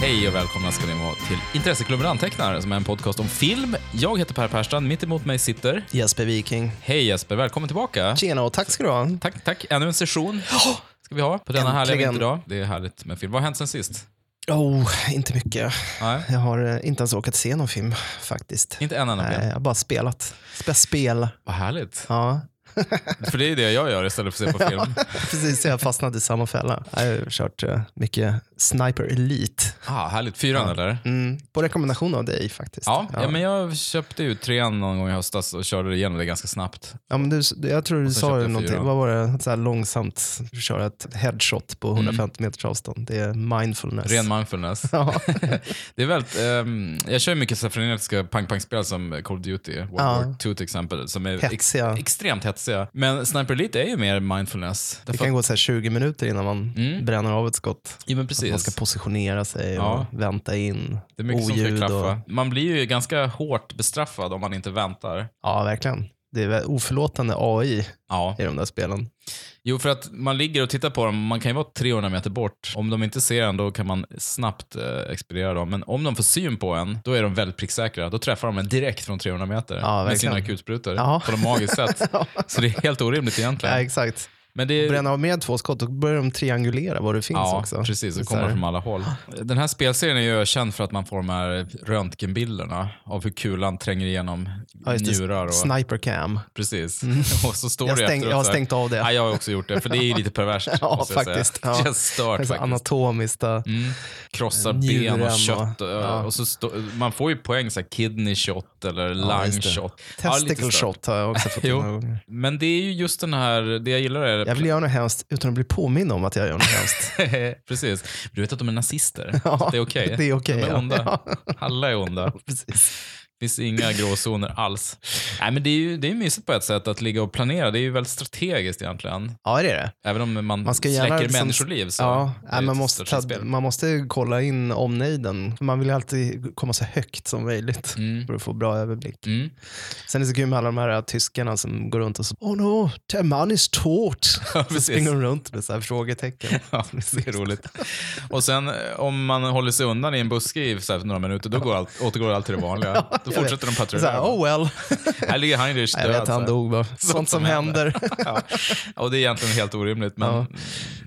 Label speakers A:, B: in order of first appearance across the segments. A: Hej och välkomna ska ni vara till Intresseklubben Antecknar, som är en podcast om film. Jag heter Per Perstrand, mitt emot mig sitter...
B: Jesper Viking.
A: Hej Jesper, välkommen tillbaka.
B: Tjena och tack ska du ha.
A: Tack, tack. Ännu en session ska vi ha på denna härliga
B: Äntligen.
A: vinterdag. Det är härligt med film. Vad har hänt sen sist?
B: Oh, inte mycket.
A: Nej,
B: Jag har eh, inte ens åkat se någon film faktiskt.
A: inte en enda
B: Nej,
A: film.
B: jag har bara spelat. Spe- spel.
A: Vad härligt.
B: Ja,
A: För det är ju det jag gör istället för att se på film.
B: precis. Jag har fastnat i samma fälla. Jag har kört eh, mycket Sniper Elite.
A: Ah, härligt. Fyran eller?
B: Mm, på rekommendation av dig faktiskt.
A: Ja, ja. men jag köpte ju trean någon gång i höstas och körde igenom det ganska snabbt.
B: Ja, men du, jag tror du
A: sen
B: sa
A: köpte jag
B: någonting,
A: fyra.
B: vad var det, så här långsamt köra ett headshot på 150 meters avstånd. Det är mindfulness.
A: Mm. Ren mindfulness.
B: ja.
A: Det är väldigt, ehm, jag kör ju mycket så här frenetiska pang-pang-spel som Call of Duty, World
B: Ja.
A: War 2 till exempel, som är ex
B: Hetsiga.
A: extremt hetsiga. Men Sniper Elite är ju mer mindfulness.
B: Det
A: Därför
B: kan
A: att,
B: gå så här 20 minuter innan man
A: Mm.
B: bränner av ett skott.
A: ja, men
B: Man ska
A: precis.
B: positionera sig
A: Ja.
B: och vänta in
A: Det är mycket som
B: oljud.
A: ska
B: och,
A: klaffa. Man blir ju ganska hårt bestraffad om man inte väntar.
B: ja, verkligen. Det är väl oförlåtande AI
A: Ja.
B: i de där spelen.
A: Jo, för att man ligger och tittar på dem. Man kan ju vara 300 meter bort. Om de inte ser en, då kan man snabbt eh, expediera dem. Men om de får syn på en, då är de väldigt pricksäkra. Då träffar de en direkt från 300 meter
B: Ja,
A: med sina
B: verkligen.
A: kulsprutor
B: Ja.
A: på något magiskt sätt.
B: Ja.
A: Så det är helt orimligt egentligen.
B: Ja, exakt.
A: Men det är...
B: Bränna av mer än två skott, då börjar de triangulera var det finns
A: Eh. Ja,
B: också.
A: precis. Det
B: Så här.
A: kommer från alla håll. Den här spelserien är ju känd för att man får de här röntgenbilderna av hur kulan tränger igenom
B: Ja, just det.
A: njurar. Och,
B: Sniper cam.
A: precis. Och så står
B: Jag,
A: det
B: stäng,
A: efteråt
B: jag har
A: så här-
B: stängt av det.
A: Ja, jag har också gjort det, för det är ju lite perverst.
B: Ja,
A: måste jag säga.
B: faktiskt.
A: Det
B: Ja.
A: känns stört
B: Alltså,
A: faktiskt.
B: anatomiskt. då.
A: Mm. Krossar
B: Njuren
A: ben och
B: och-
A: kött. Och,
B: ja.
A: och så stå, man får ju poäng, så här, kidney shot eller lung
B: just det.
A: shot. Ja, lite
B: Testicle
A: stört.
B: shot har jag också fått
A: Jo.
B: några gånger.
A: Men det är ju just den här, det jag gillar är...
B: Jag vill göra något hemskt utan att bli påmind om att jag gör något hemskt.
A: Precis. Du vet att de är nazister?
B: Ja,
A: det är okej.
B: Det är okej.
A: De är
B: ja.
A: onda.
B: Ja,
A: Alla är onda.
B: precis.
A: finns inga gråzoner alls. Nej, men det är ju det är ju mysigt på ett sätt att ligga och planera. Det är ju väldigt strategiskt egentligen.
B: Ja, det är det.
A: Även om man,
B: Man ska gärna
A: släcker
B: liksom-
A: människoliv så
B: Ja,
A: det är
B: nej,
A: ju
B: man,
A: ett
B: måste ta,
A: strategispel.
B: man måste kolla in omnejden. Man vill ju alltid komma så högt som möjligt
A: Mm.
B: för att få bra överblick.
A: Mm.
B: Sen är det så kul med alla de här tyskarna som går runt och så Oh no, the man is taut. så
A: precis.
B: springer de runt med så här frågetecken.
A: Ja, det är roligt. Och sen eh, om man håller sig undan i en buske i så här, några minuter, då går allt, återgår allt till det vanliga. Då
B: jag
A: fortsätter de
B: Så här,
A: patrullera.
B: oh well.
A: Här ligger Heinrich
B: jag vet,
A: död.
B: han
A: så
B: dog bara. Sånt, som,
A: som händer.
B: händer.
A: här. Ja. Och det är egentligen helt orimligt, men
B: Ja.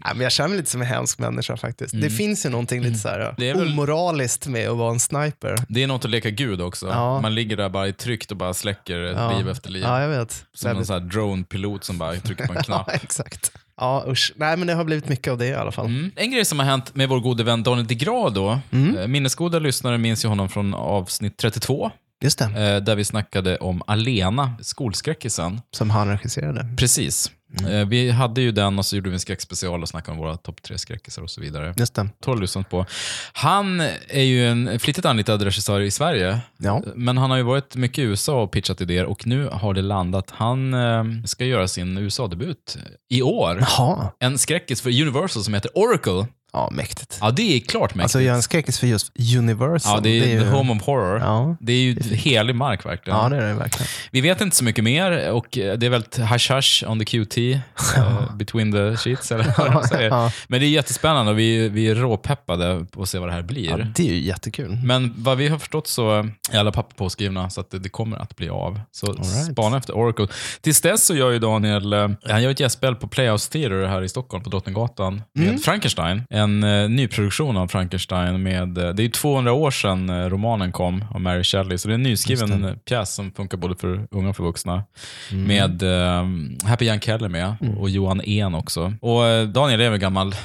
B: Nej, men jag känner mig lite som en hemsk människa faktiskt. Det finns ju någonting lite så här,
A: Mm. Det är väl-
B: omoraliskt med att vara en sniper.
A: det är något att leka gud också.
B: Ja.
A: Man ligger där bara i tryckt och bara släcker liv efter liv.
B: Ja, jag vet.
A: Som någon sån här drone-pilot som bara trycker på en knapp.
B: Ja, exakt. Ja, usch. Nej, men det har blivit mycket av det i alla fall.
A: Mm. En grej som har hänt med vår gode vän Daniel DeGraw då. Eh, Minnesgoda lyssnare minns ju honom från avsnitt 32,
B: Just det,
A: eh, där vi snackade om Alena, skolskräckisen.
B: som han regisserade.
A: Precis. Eh, Vi hade ju den och så gjorde vi en skräckspecial och snackade om våra topp tre skräckisar och så vidare.
B: Just det.
A: Tolv lyssnat på. Han är ju en flitigt anlitad regissör i Sverige.
B: Ja.
A: Men han har ju varit mycket i USA och pitchat idéer och nu har det landat. Han eh, ska göra sin USA-debut i år.
B: Jaha.
A: En skräckis för Universal som heter Oracle.
B: Ja, mäktigt.
A: Ja, det är klart mäktigt.
B: Alltså, jag är en skräckis för just Universal.
A: Ja, det är,
B: ju-
A: the home of horror.
B: Ja.
A: Det är ju helig mark verkligen.
B: ja, det är det verkligen.
A: Vi vet inte så mycket mer och eh, det är väldigt hash hash on the QT, eh, between the sheets eller vad de säger.
B: Ja.
A: Men det är jättespännande och vi, vi är råpeppade på att se vad det här blir.
B: Ja, det är ju jättekul.
A: Men vad vi har förstått så är alla papper påskrivna så att det, det kommer att bli av. Så
B: right.
A: spana efter Oracle. Tills dess så gör ju Daniel, eh, han gör ett gästspel på Playhouse Theater här i Stockholm på Drottninggatan
B: Mm.
A: med Frankenstein. En eh, nyproduktion av Frankenstein med, eh, det är ju 200 år sedan eh, romanen kom av Mary Shelley, så det är en nyskriven eh, pjäs som funkar både för unga och för vuxna.
B: Mm.
A: Med eh, Happy Jan Keller med och Johan En också. Och eh, Daniel är väl gammal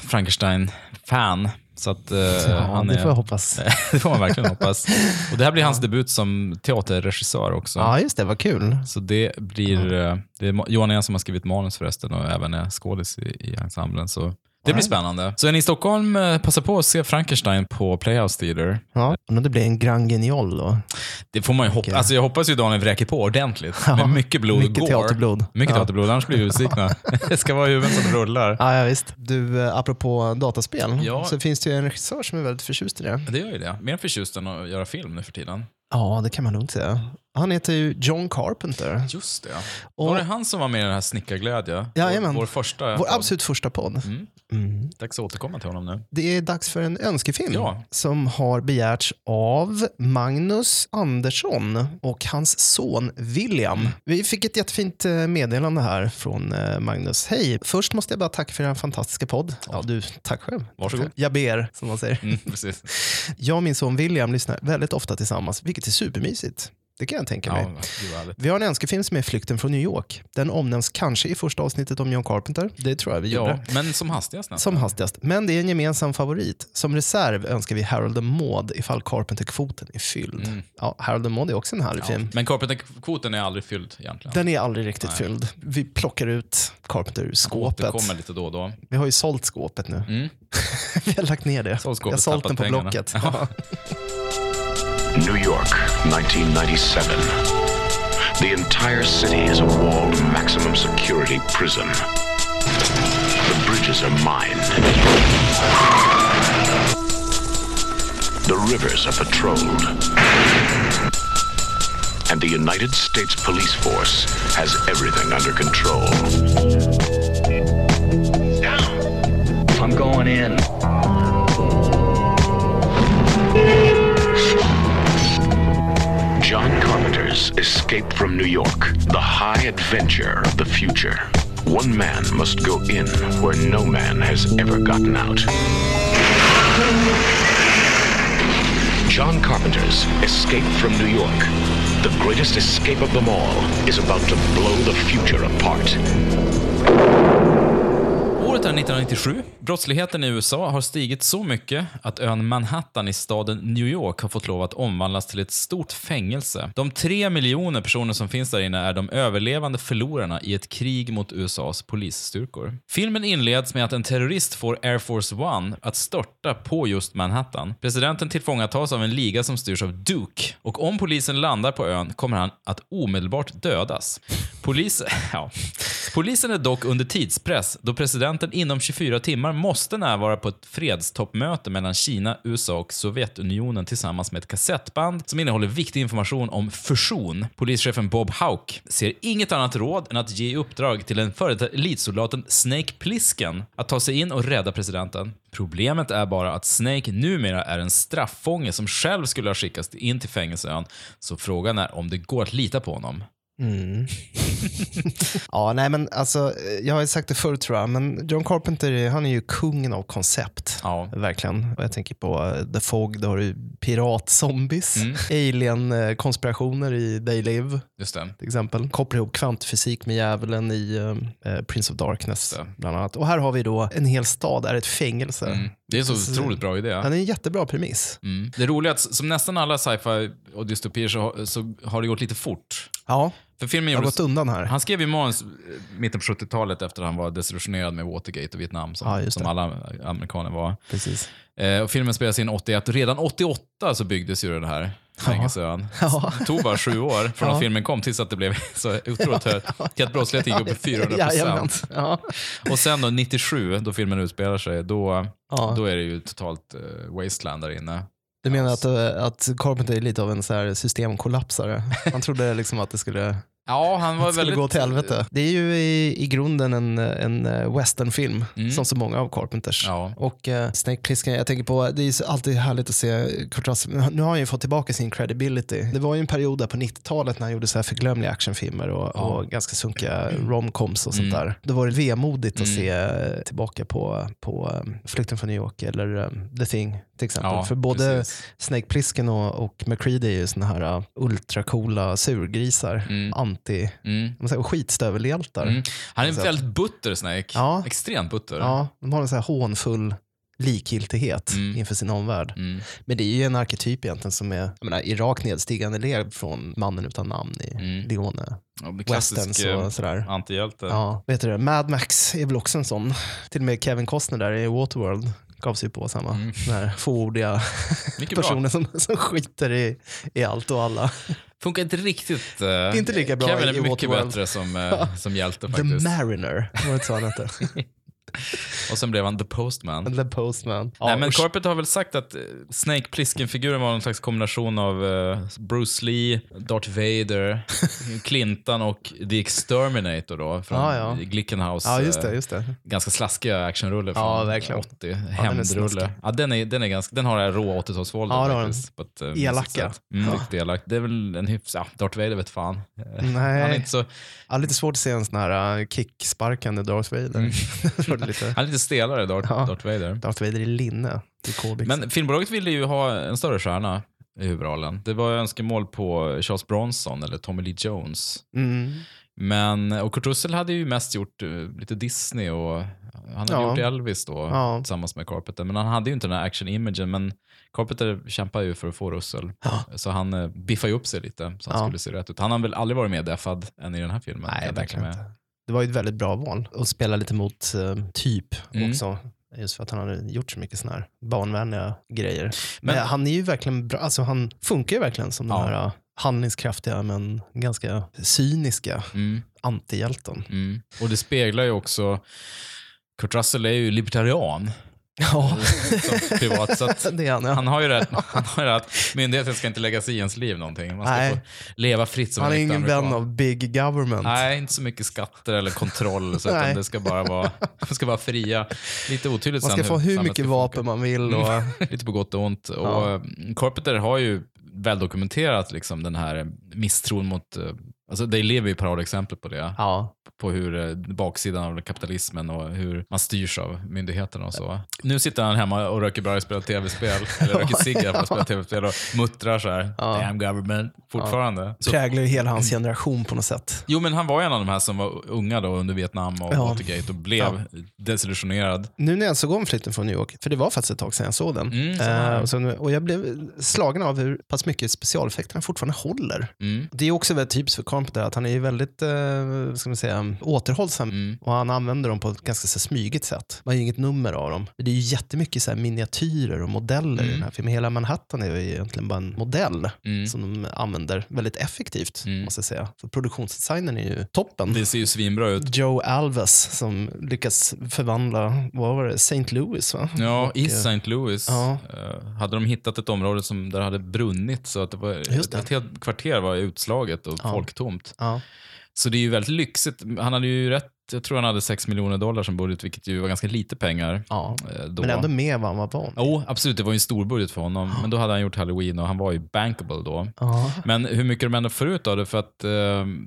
A: Frankenstein-fan. Så att, eh,
B: Ja,
A: han
B: det
A: är,
B: får jag hoppas.
A: det får man verkligen hoppas. Och det här blir hans debut som teaterregissör också.
B: Ja, just det. Vad kul.
A: Så det blir... eh, Det är Ma- Johan Ehn som har skrivit manus förresten och även är skådis i, i ensemblen. Så det blir spännande. Så är ni i Stockholm, eh, passa på att se Frankenstein på Playhouse Theater.
B: Ja. Undrar om det blir en Grand Guignol då.
A: Det får man ju hoppas. Alltså jag hoppas ju Daniel vräker på ordentligt. Med mycket blod och
B: Mycket
A: gore.
B: teaterblod.
A: Mycket
B: Ja.
A: teaterblod, annars blir vi besvikna. det ska vara huvuden som rullar.
B: Ja, ja, visst. Du, eh, apropå dataspel,
A: Ja.
B: så finns det ju en regissör som är väldigt förtjust i det.
A: Det gör ju det. Mer förtjust än att göra film nu för tiden.
B: Ja, det kan man lugnt säga. Han heter ju John Carpenter.
A: Just det.
B: Och-
A: Var det han som var med i den här Snickarglädje?
B: Jajamän.
A: vår, vår första.
B: Vår absolut första podd.
A: Mm.
B: Mm.
A: Dags att återkomma till honom nu.
B: Det är dags för en önskefilm
A: Ja.
B: som har begärts av Magnus Andersson och hans son William.
A: Mm.
B: Vi fick ett jättefint eh, meddelande här från eh, Magnus. Hej, först måste jag bara tacka för er fantastiska podd. Ja, du, tack själv.
A: Varsågod.
B: Jag ber, som man säger.
A: Mm, precis.
B: Jag och min son William lyssnar väldigt ofta tillsammans, vilket är supermysigt. Det kan jag tänka mig.
A: Ja, gud vad härligt.
B: Vi har en önskefilm som är Flykten från New York. Den omnämns kanske i första avsnittet om John Carpenter. Det tror jag vi gjorde.
A: Ja, men som hastigast nästan.
B: Som hastigast. Men det är en gemensam favorit. Som reserv önskar vi Harold and Maud ifall Carpenter-kvoten är fylld.
A: Mm.
B: Ja, Harold and Maud är också en härlig film.
A: Men Carpenter-kvoten är aldrig fylld egentligen.
B: Den är aldrig riktigt fylld. Vi plockar ut Carpenter ur skåpet.
A: Återkommer lite då och då.
B: Vi har ju sålt skåpet nu.
A: Mm.
B: vi har lagt ner det.
A: Sålt skåpet,
B: Jag har sålt den
A: tappat
B: på
A: pengarna.
B: Blocket.
A: Ja.
C: New York, 1997. The entire city is a walled maximum security prison. The bridges are mined. The rivers are patrolled. And the United States Police Force has everything under control.
D: I'm going in.
C: John Carpenter's Escape from New York, the high adventure of the future. One man must go in where no man has ever gotten out. John Carpenter's Escape from New York, the greatest escape of them all, is about to blow the future apart.
A: Året är 1997. Brottsligheten i USA har stigit så mycket att ön Manhattan i staden New York har fått lov att omvandlas till ett stort fängelse. De tre miljoner personer som finns där inne är de överlevande förlorarna i ett krig mot USAs polisstyrkor. Filmen inleds med att en terrorist får Air Force One att störta på just Manhattan. Presidenten tillfångatas av en liga som styrs av Duke och om polisen landar på ön kommer han att omedelbart dödas. Polis... Ja. Polisen är dock under tidspress då presidenten inom 24 timmar måste närvara på ett fredstoppmöte mellan Kina, USA och Sovjetunionen tillsammans med ett kassettband som innehåller viktig information om fusion. Polischefen Bob Houck ser inget annat råd än att ge i uppdrag till den före detta elitsoldaten Snake Plissken att ta sig in och rädda presidenten. Problemet är bara att Snake numera är en strafffånge som själv skulle ha skickats in till fängelseön, så frågan är om det går att lita på honom.
B: Mm. Ja, nej men alltså, eh, jag har ju sagt det förut tror jag, men John Carpenter är- han är ju kungen av koncept.
A: Ja.
B: Verkligen. Och Jag tänker på eh, The Fog, då har du piratzombies, alien-konspirationer i They Live
A: Just det.
B: till exempel. Koppla ihop kvantfysik med djävulen i eh, Prince of Darkness
A: det.
B: bland annat. Och här har vi då en hel stad är ett fängelse.
A: Det är en så otroligt bra idé.
B: Alltså, Han är en jättebra premiss.
A: Mm. Det roliga är att som nästan alla sci-fi och dystopier så, har- så har det gått lite fort.
B: Ja,
A: För filmen
B: jag har
A: gjordes,
B: gått undan här.
A: han skrev ju manus eh, mitten på 70-talet efter han var desillusionerad med Watergate och Vietnam som,
B: Ja, just
A: som
B: det.
A: alla amerikaner var.
B: Precis.
A: Eh, och filmen spelades in 81 och redan 88 så byggdes ju den här fängelseön.
B: Ja.
A: Det tog bara sju år från att filmen kom tills att det blev så otroligt högt. Till att brottsligheten gick upp i 400
B: Jajamän. Ja.
A: Och sen då 97, då filmen utspelar sig, då,
B: Ja.
A: då är det ju totalt eh, wasteland där inne.
B: Du menar att, eh, att Carpenter är lite av en så här systemkollapsare? Han trodde liksom att det skulle,
A: Ja, han var
B: skulle
A: väldigt...
B: gå till helvete. Det är ju i, i grunden en, en eh, westernfilm,
A: Mm.
B: som så många av Carpenters.
A: Ja.
B: Och eh, Snake Plissken, jag tänker på, det är ju så- alltid härligt att se Kurt Russell. Nu har han ju fått tillbaka sin credibility. Det var ju en period där på 90-talet när han gjorde så här förglömliga actionfilmer och, och ganska sunkiga romcoms och
A: Mm.
B: sånt där. Då var det vemodigt att se eh, tillbaka på, på eh, Flykten från New York eller eh, The Thing till exempel.
A: Ja,
B: För både
A: precis.
B: Snake Plissken och, och McCready är ju såna här uh, ultracoola surgrisar. Anti,
A: Mm.
B: de är så här skitstövelhjältar.
A: Mm. Han är
B: Så att-
A: väldigt butter Snake.
B: Alltså- Ja.
A: Extremt butter.
B: Ja, de har en så här hånfull likgiltighet inför sin omvärld.
A: Mm.
B: Men det är ju en arketyp egentligen som är, jag menar, i rakt nedstigande led från mannen utan namn i
A: Mm.
B: Leone.
A: Ja, det
B: Westerns
A: klassisk, eh,
B: och sådär.
A: Antihjälte.
B: Ja, vet du det? Mad Max är väl också en sån. Till och med Kevin Costner där i Waterworld gav sig på samma. Den här fåordiga
A: Mycket Mm. bra.
B: personen som, som skiter i, i allt och alla.
A: Funkar inte riktigt. eh,
B: Inte lika bra
A: Kevin
B: i
A: är mycket
B: Waterworld.
A: bättre som, eh, som hjälte
B: The
A: faktiskt.
B: Mariner, var det så han hette?
A: Och sen blev han The Postman.
B: The Postman. Ja,
A: Nej, men
B: och-
A: Carpet har väl sagt att eh, Snake Plissken-figuren var någon slags kombination av eh, Bruce Lee, Darth Vader, Clinton och The Exterminator då, från
B: Ja, ja.
A: Glickenhaus.
B: ja, just det.
A: eh,
B: Just det.
A: Ganska slaskiga actionrulle från
B: Ja, verkligen.
A: 80.
B: den är
A: Hämndrulle.
B: snaskig.
A: Ja, den, är, den, är ganska, den har det här råa 80-talsvåldet.
B: Ja, det har den.
A: faktiskt, på ett, eh, mysigt
B: Elaka.
A: sätt. Mm,
B: Ja.
A: Riktigt elak. Det är väl en hyfs... Ja, Darth Vader vet fan. Han är
B: Nej,
A: inte så...
B: ja, lite svårt att se en sån här äh, kicksparkande Darth Vader. Det var lite...
A: Han är lite stelare, Darth,
B: Ja.
A: Darth Vader.
B: Darth Vader i linne. I Kobix.
A: Men filmbolaget ville ju ha en större stjärna i huvudrollen. Det var önskemål på Charles Bronson eller Tommy Lee Jones.
B: mm.
A: Men, och Kurt Russell hade ju mest gjort eh, lite Disney och han hade
B: Ja.
A: gjort Elvis då
B: Ja.
A: tillsammans med Carpenter. Men han hade ju inte den här action-imagen. Men Carpenter kämpar ju för att få Russell.
B: Ja.
A: Så han eh, biffade ju upp sig lite så han
B: Ja.
A: skulle se rätt ut. Han har väl aldrig varit mer deffad än i den här filmen. kan
B: Nej,
A: jag tänka
B: verkligen
A: mig.
B: inte. Det var ju ett väldigt bra val. Och spela lite mot eh, typ
A: Mm.
B: också. Just för att han hade gjort så mycket såna här barnvänliga grejer. Men,
A: Men-
B: han är ju verkligen bra. Alltså han funkar ju verkligen som
A: Ja.
B: den här eh, handlingskraftiga men ganska cyniska
A: Mm.
B: antihjälten.
A: Mm. Och det speglar ju också... Kurt Russell är ju libertarian
B: Ja,
A: som privat. Så att
B: det är han. Ja.
A: han har ju rätt han har ju rätt att myndigheten ska inte lägga sig i ens liv någonting. Man ska
B: Nej.
A: få leva fritt som
B: han är
A: en äkta
B: ingen
A: amerikan.
B: vän av big government.
A: Nej, inte så mycket skatter eller kontroll. Så utan
B: Nej.
A: det ska bara vara, det ska vara fria. Lite otydligt
B: Man ska
A: sen
B: få hur
A: samhället
B: mycket
A: ska
B: vapen man vill. Och,
A: funka. Lite på gott och ont. Och
B: Ja.
A: eh, Carpenter har ju väl dokumenterat liksom den här misstron mot... eh, Alltså They Live är ju paradexempel på det.
B: ja.
A: På hur eh, baksidan av kapitalismen och hur man styrs av myndigheterna och så. Nu sitter han hemma och röker bara och spelar tv-spel. Eller röker cigg för att spela tv-spel och muttrar så här. Damn government. Fortfarande. Så
B: Präglar ju hela hans generation på något sätt.
A: Jo, men han var en av de här som var unga då under Vietnam och
B: Ja.
A: Watergate och blev desillusionerad.
B: Nu när jag såg om Flykten från New York, för det var faktiskt ett tag sedan jag såg den.
A: Mm, så
B: Eh,
A: här.
B: och, sen, och jag blev slagen av hur pass mycket specialeffekterna fortfarande håller.
A: Mm.
B: Det är också väldigt typiskt för Carpenter att han är ju väldigt eh, vad ska man säga, återhållsam
A: Mm.
B: och han använder dem på ett ganska så här, smygigt sätt. Man gör inget nummer av dem. Det är ju jättemycket så här, miniatyrer och modeller i den här filmen. Hela Manhattan är ju egentligen bara en modell
A: Mm.
B: som de använder väldigt effektivt,
A: Mm.
B: måste jag säga. För produktionsdesignen är ju toppen.
A: Det ser ju svinbra ut.
B: Joe Alves som lyckas förvandla, vad var det, St. Louis va?
A: Ja,
B: Och,
A: i
B: eh,
A: St. Louis
B: ja.
A: eh, hade de hittat ett område som där det hade brunnit så att det var,
B: Just det.
A: ett helt kvarter var utslaget och
B: Ja.
A: folktomt.
B: Ja.
A: Så det är ju väldigt lyxigt. Han hade ju rätt, jag tror han hade 6 miljoner dollar som budget, vilket ju var ganska lite pengar
B: ja.
A: eh, då.
B: Men ändå med vad han var van
A: Jo, absolut, det var ju en stor budget för honom, men då hade han gjort Halloween och han var ju bankable då.
B: Ja.
A: Men hur mycket de ändå får ut av det, för att eh,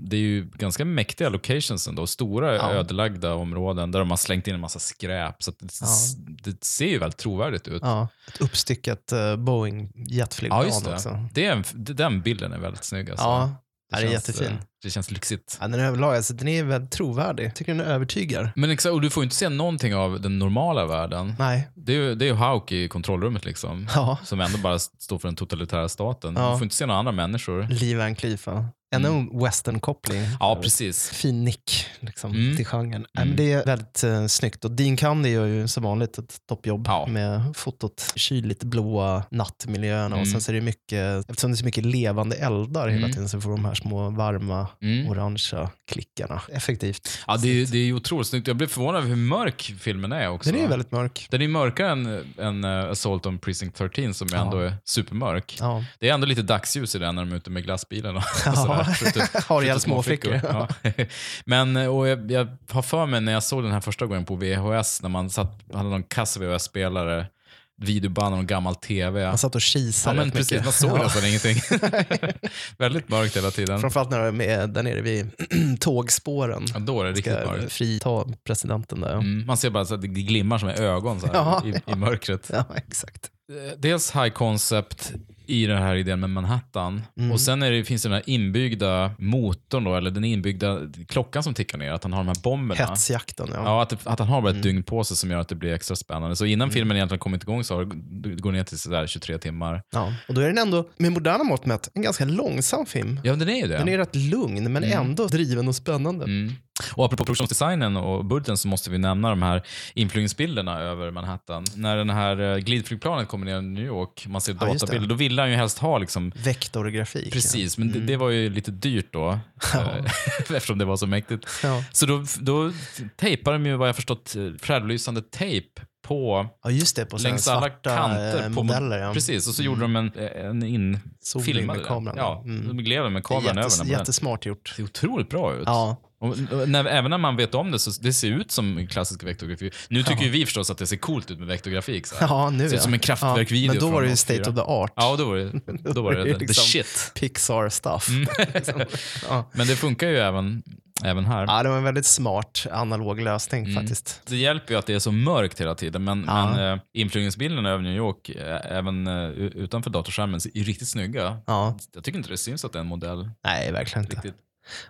A: det är ju ganska mäktiga locations ändå. Stora
B: Ja.
A: ödelagda områden där de har slängt in en massa skräp. Så att det,
B: Ja.
A: det ser ju väldigt trovärdigt ut.
B: Ja, ett uppstyckat eh, Boeing
A: Ja,
B: jetflygplan
A: just det.
B: också.
A: det är en, det- den bilden är väldigt snygg. Alltså.
B: Ja, det, är
A: känns,
B: jättefin.
A: eh, Det känns lyxigt.
B: Ja, den är överlag, alltså, den är väldigt trovärdig. Jag tycker den övertygar.
A: Men exakt, och du får ju inte se någonting av den normala världen.
B: Nej,
A: Det är ju, det är ju Hauk i kontrollrummet liksom.
B: ja.
A: Som ändå bara står för den totalitära staten.
B: Ja.
A: Du får inte se några andra människor.
B: Lee Van Cleef, va? Ännu en western-koppling.
A: Ja, precis.
B: Fin nick liksom,
A: Mm.
B: till genren. Nej, men det är väldigt eh, snyggt. Och Dean Candy gör ju som vanligt ett toppjobb
A: Ja.
B: med fotot. Kyligt blåa nattmiljöerna. Och
A: Mm.
B: sen så är det mycket, eftersom det är så mycket levande eldar hela
A: Mm.
B: tiden så får de här små varma
A: Mm.
B: orangea klickarna. Effektivt.
A: Ja, det, är, ju- det är ju otroligt snyggt. Jag blev förvånad över hur mörk filmen är också.
B: Den är ju väldigt mörk.
A: Den är mörkare än, än eh, Assault on Precinct 13 som ju ändå är supermörk.
B: Ja.
A: Det är ändå lite dagsljus i den när de är ute med glassbilen och
B: Ja.
A: sådär. typ. Skjuter-
B: Har ihjäl
A: skjuter
B: småflickor.
A: Ja. Men eh, och jag, jag har för mig när jag såg den här första gången på VHS, när man satt, hade någon kass VHS-spelare, videoband och någon gammal TV.
B: Man satt
A: ja,
B: och kisade
A: men
B: rätt
A: precis,
B: mycket.
A: man såg
B: Ja.
A: nästan ingenting. Väldigt mörkt hela tiden.
B: Framförallt när de är där nere vid tågspåren.
A: Ja, då är det riktigt
B: Ska
A: mörkt.
B: frita presidenten där.
A: Mm, man ser bara så att det glimmar som i ögon så här,
B: Ja.
A: i, i mörkret.
B: Ja, exakt.
A: Eh, dels high concept i den här idén med Manhattan.
B: Mm.
A: Och sen är det, finns det den här inbyggda motorn, då, eller den inbyggda klockan som tickar ner. Att han har de här bomberna.
B: Hetsjakten, ja.
A: Ja, Mm. att, det- att han har bara ett dygn på sig som gör att det blir extra spännande. Så innan filmen egentligen kommit igång så har det g- går ner till sådär 23 timmar.
B: Ja. Och då är den ändå, med moderna mått mätt, en ganska långsam film.
A: Ja, men den är ju det.
B: Den är rätt lugn, men ändå driven och spännande.
A: Mm. Och apropå produktionsdesignen och budgeten så måste vi nämna de här inflygningsbilderna över Manhattan. När den här eh, glidflygplanet kommer ner i New York, man ser
B: Ja, just det.
A: databilder, då ville han ju helst ha liksom
B: Vektorgrafik.
A: Precis, men det, det var ju lite dyrt då. eh, eftersom det var så mäktigt.
B: Ja.
A: Så då, då tejpar de ju vad jag förstått eh, frädlysande tejp på
B: Ja, just det. På sådana
A: längs alla
B: svarta,
A: kanter.
B: eh,
A: På,
B: modeller. Ja.
A: Precis, och så gjorde de en, en in...
B: Zoom in
A: filmade
B: med
A: den.
B: kameran.
A: Ja,
B: Mm.
A: de gled med
B: Det är
A: kameran
B: jättes-
A: över den. på den.
B: jättesmart gjort.
A: Det ser otroligt bra ut.
B: Ja.
A: Och, och när, även när man vet om det så det ser ut som klassisk vektorgrafik. Nu tycker ju vi förstås att det ser coolt ut med vektorgrafik. Så här.
B: Ja, nu
A: ser ut som en Kraftwerk-video
B: Men då var det ju
A: från
B: state
A: 84.
B: of the art.
A: Ja, och då var det, då var det, the
B: liksom
A: shit.
B: Pixar stuff.
A: Mm.
B: Liksom. ja.
A: Men det funkar ju även, även här.
B: ja, det var en väldigt smart analog lösning
A: Mm.
B: faktiskt.
A: Det hjälper ju att det är så mörkt hela tiden, men,
B: Ja.
A: men eh, inflygningsbilderna över New York, eh, även eh, u- utanför datorskärmen, är ju riktigt snygga.
B: Ja,
A: Jag tycker inte det syns att det är en modell.
B: nej verkligen inte.
A: Riktigt.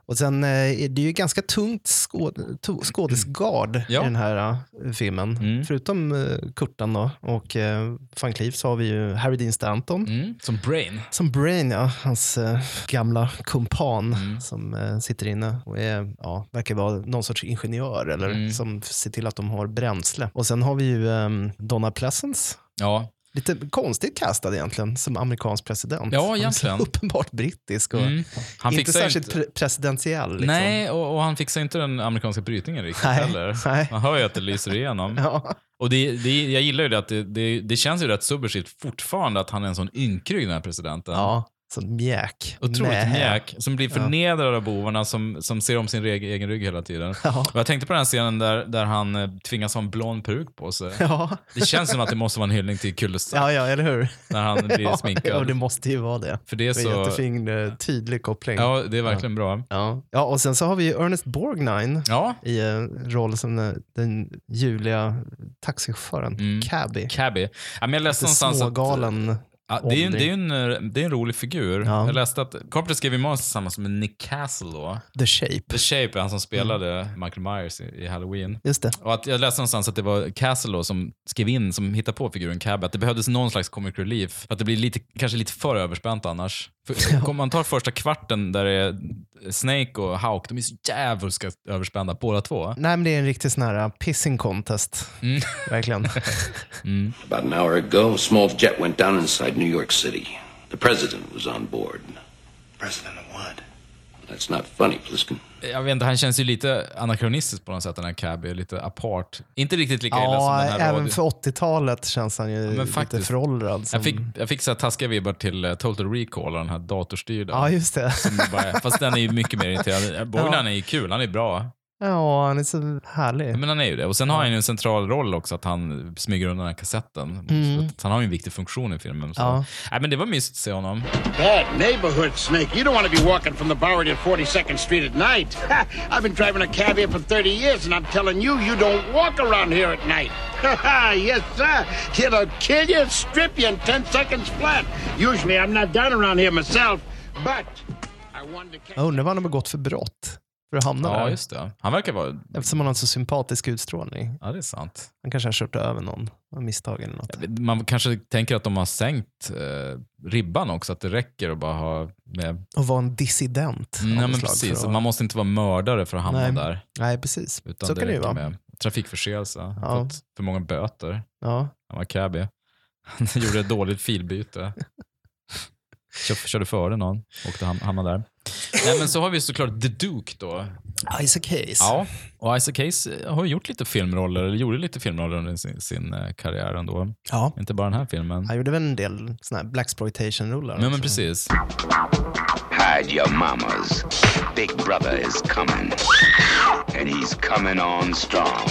B: Och sen eh, är det ju ganska tungt skåd- to- skådisgard
A: Ja.
B: i den här eh, filmen.
A: Mm.
B: Förutom eh, Kurtan då och eh, van Cleef så har vi ju Harry Dean Stanton.
A: Mm. Som Brain.
B: Som Brain, ja, hans eh, gamla kumpan
A: Mm.
B: som eh, sitter inne och är, ja, verkar vara någon sorts ingenjör eller
A: Mm.
B: som ser till att de har bränsle. Och sen har vi ju ehm, Donna Pleasence.
A: Ja.
B: Lite konstigt castad egentligen som amerikansk president.
A: Ja,
B: Han är så
A: egentligen.
B: Uppenbart brittisk och
A: Mm. Han
B: inte
A: fixar
B: särskilt pre- presidentiell. Liksom.
A: Nej, och, och han fixar inte den amerikanska brytningen riktigt
B: Nej,
A: heller.
B: nej.
A: Man hör ju att det lyser igenom.
B: Ja,
A: Och det, det, jag gillar ju det att det, det, det känns ju rätt subversivt fortfarande att han är en sån ynkryg den här presidenten.
B: ja. så mjäk.
A: Otroligt
B: Mähä.
A: mjäk, som blir förnedrad av bovarna som, som ser om sin reg- egen rygg hela tiden.
B: Ja.
A: Och jag tänkte på den här scenen där, där han eh, tvingas ha en blond peruk på sig.
B: Ja.
A: Det känns som att det måste vara en hyllning till cul
B: ja, ja, eller hur?
A: när han blir
B: Ja, ja,
A: sminkad.
B: det måste ju vara det.
A: För det är
B: Det är en
A: så...
B: jättefin, eh, tydlig koppling.
A: Ja, det är verkligen bra.
B: Ja. ja, och sen så har vi ju Ernest Borgnine
A: Ja,
B: i en roll som den, den ljuvliga taxichauffören,
A: Mm.
B: Cabby.
A: Cabby. Ja, men jag läste
B: Lite
A: någonstans att...
B: smågalen.
A: Ja, det, är ju, det, är ju en, eh, det är en rolig figur.
B: Ja.
A: Jag läste att Carpenter skrev ju manus tillsammans med Nick Castle då.
B: The Shape.
A: The Shape är han som spelade
B: Mm.
A: Michael Myers i, i Halloween.
B: Just det.
A: Och att jag läste någonstans att det var Castle då som skrev in, som hittade på figuren Cab, att det behövdes någon slags comic relief. För att det blir lite, kanske lite för överspänt annars. För, om man tar första kvarten där det är Snake och Hawk, de är så djävulska överspända båda två.
B: Nej, men det är en riktig sån här eh, pissing contest.
A: Mm.
B: Verkligen.
E: About an hour ago, a small jet went down inside New York City. The president was on board. President of what? That's not funny, Pliskin.
A: Jag vet inte, han känns ju lite anakronistisk på något sätt den här Cab, är lite apart. Inte riktigt lika illa som
B: ja,
A: den här
B: även
A: radio.
B: för 80-talet känns han ju
A: men
B: lite
A: faktiskt.
B: föråldrad. Som...
A: Jag fick, jag fick så här taskiga vibbar till eh, Total Recall, den här datorstyrda. Mm,
B: Ja, just det.
A: Bara- Fast den är ju mycket mer irriterande. Borgland är ju kul, han är bra.
B: Ja, han är så
A: Ja,
B: härlig.
A: Men han är ju det. Och sen har han ju en central roll också, att han smyger undan den här kassetten. Så att han har ju en viktig funktion i filmen. Så.
B: Mm. Ja.
A: Nej, men det var mysigt att se honom.
F: Bad neighborhood, Snake. You don't want to be walking from the Bowery to 42nd Street at night. I've been driving a cab here for 30 years, and I'm telling you, you don't walk around here at night. yes, sir. It'll kill you, strip you in 10 seconds flat. Usually, I'm not down around here myself, but I wanted to catch.
B: Jag undrar vad han har begått för brott för att hamna
A: Ja,
B: där.
A: just det. Han verkar vara...
B: Eftersom han har en så sympatisk utstrålning.
A: Ja, det är sant.
B: Han kanske har kört över någon av misstag eller något.
A: Man kanske tänker att de har sänkt eh, ribban också, att det räcker att bara ha... Med...
B: Och vara en dissident. av
A: Nej,
B: något
A: men
B: slag
A: precis.
B: för att-
A: Man måste inte vara mördare för att hamna
B: Nej.
A: där.
B: Nej, precis.
A: Utan
B: så
A: det
B: kan det ju
A: räcker
B: vara.
A: med trafikförseelse. Han har
B: Ja.
A: Fått för många böter.
B: Ja.
A: Han var cabbie. Han gjorde ett dåligt filbyte. Kör, körde före någon. Åkte ham- hamnade där. Nej, men så har vi såklart The Duke då.
B: Isaac Hayes.
A: Ja, och Isaac Hayes har ju gjort lite filmroller, eller gjorde lite filmroller under sin, sin eh, karriär ändå.
B: Ja.
A: Inte bara den här filmen.
B: Han gjorde väl en del såna här blaxploitation-rullar.
A: Nej, men
B: också.
A: precis.
E: Hide your mamas. Big brother is coming. And he's coming on strong.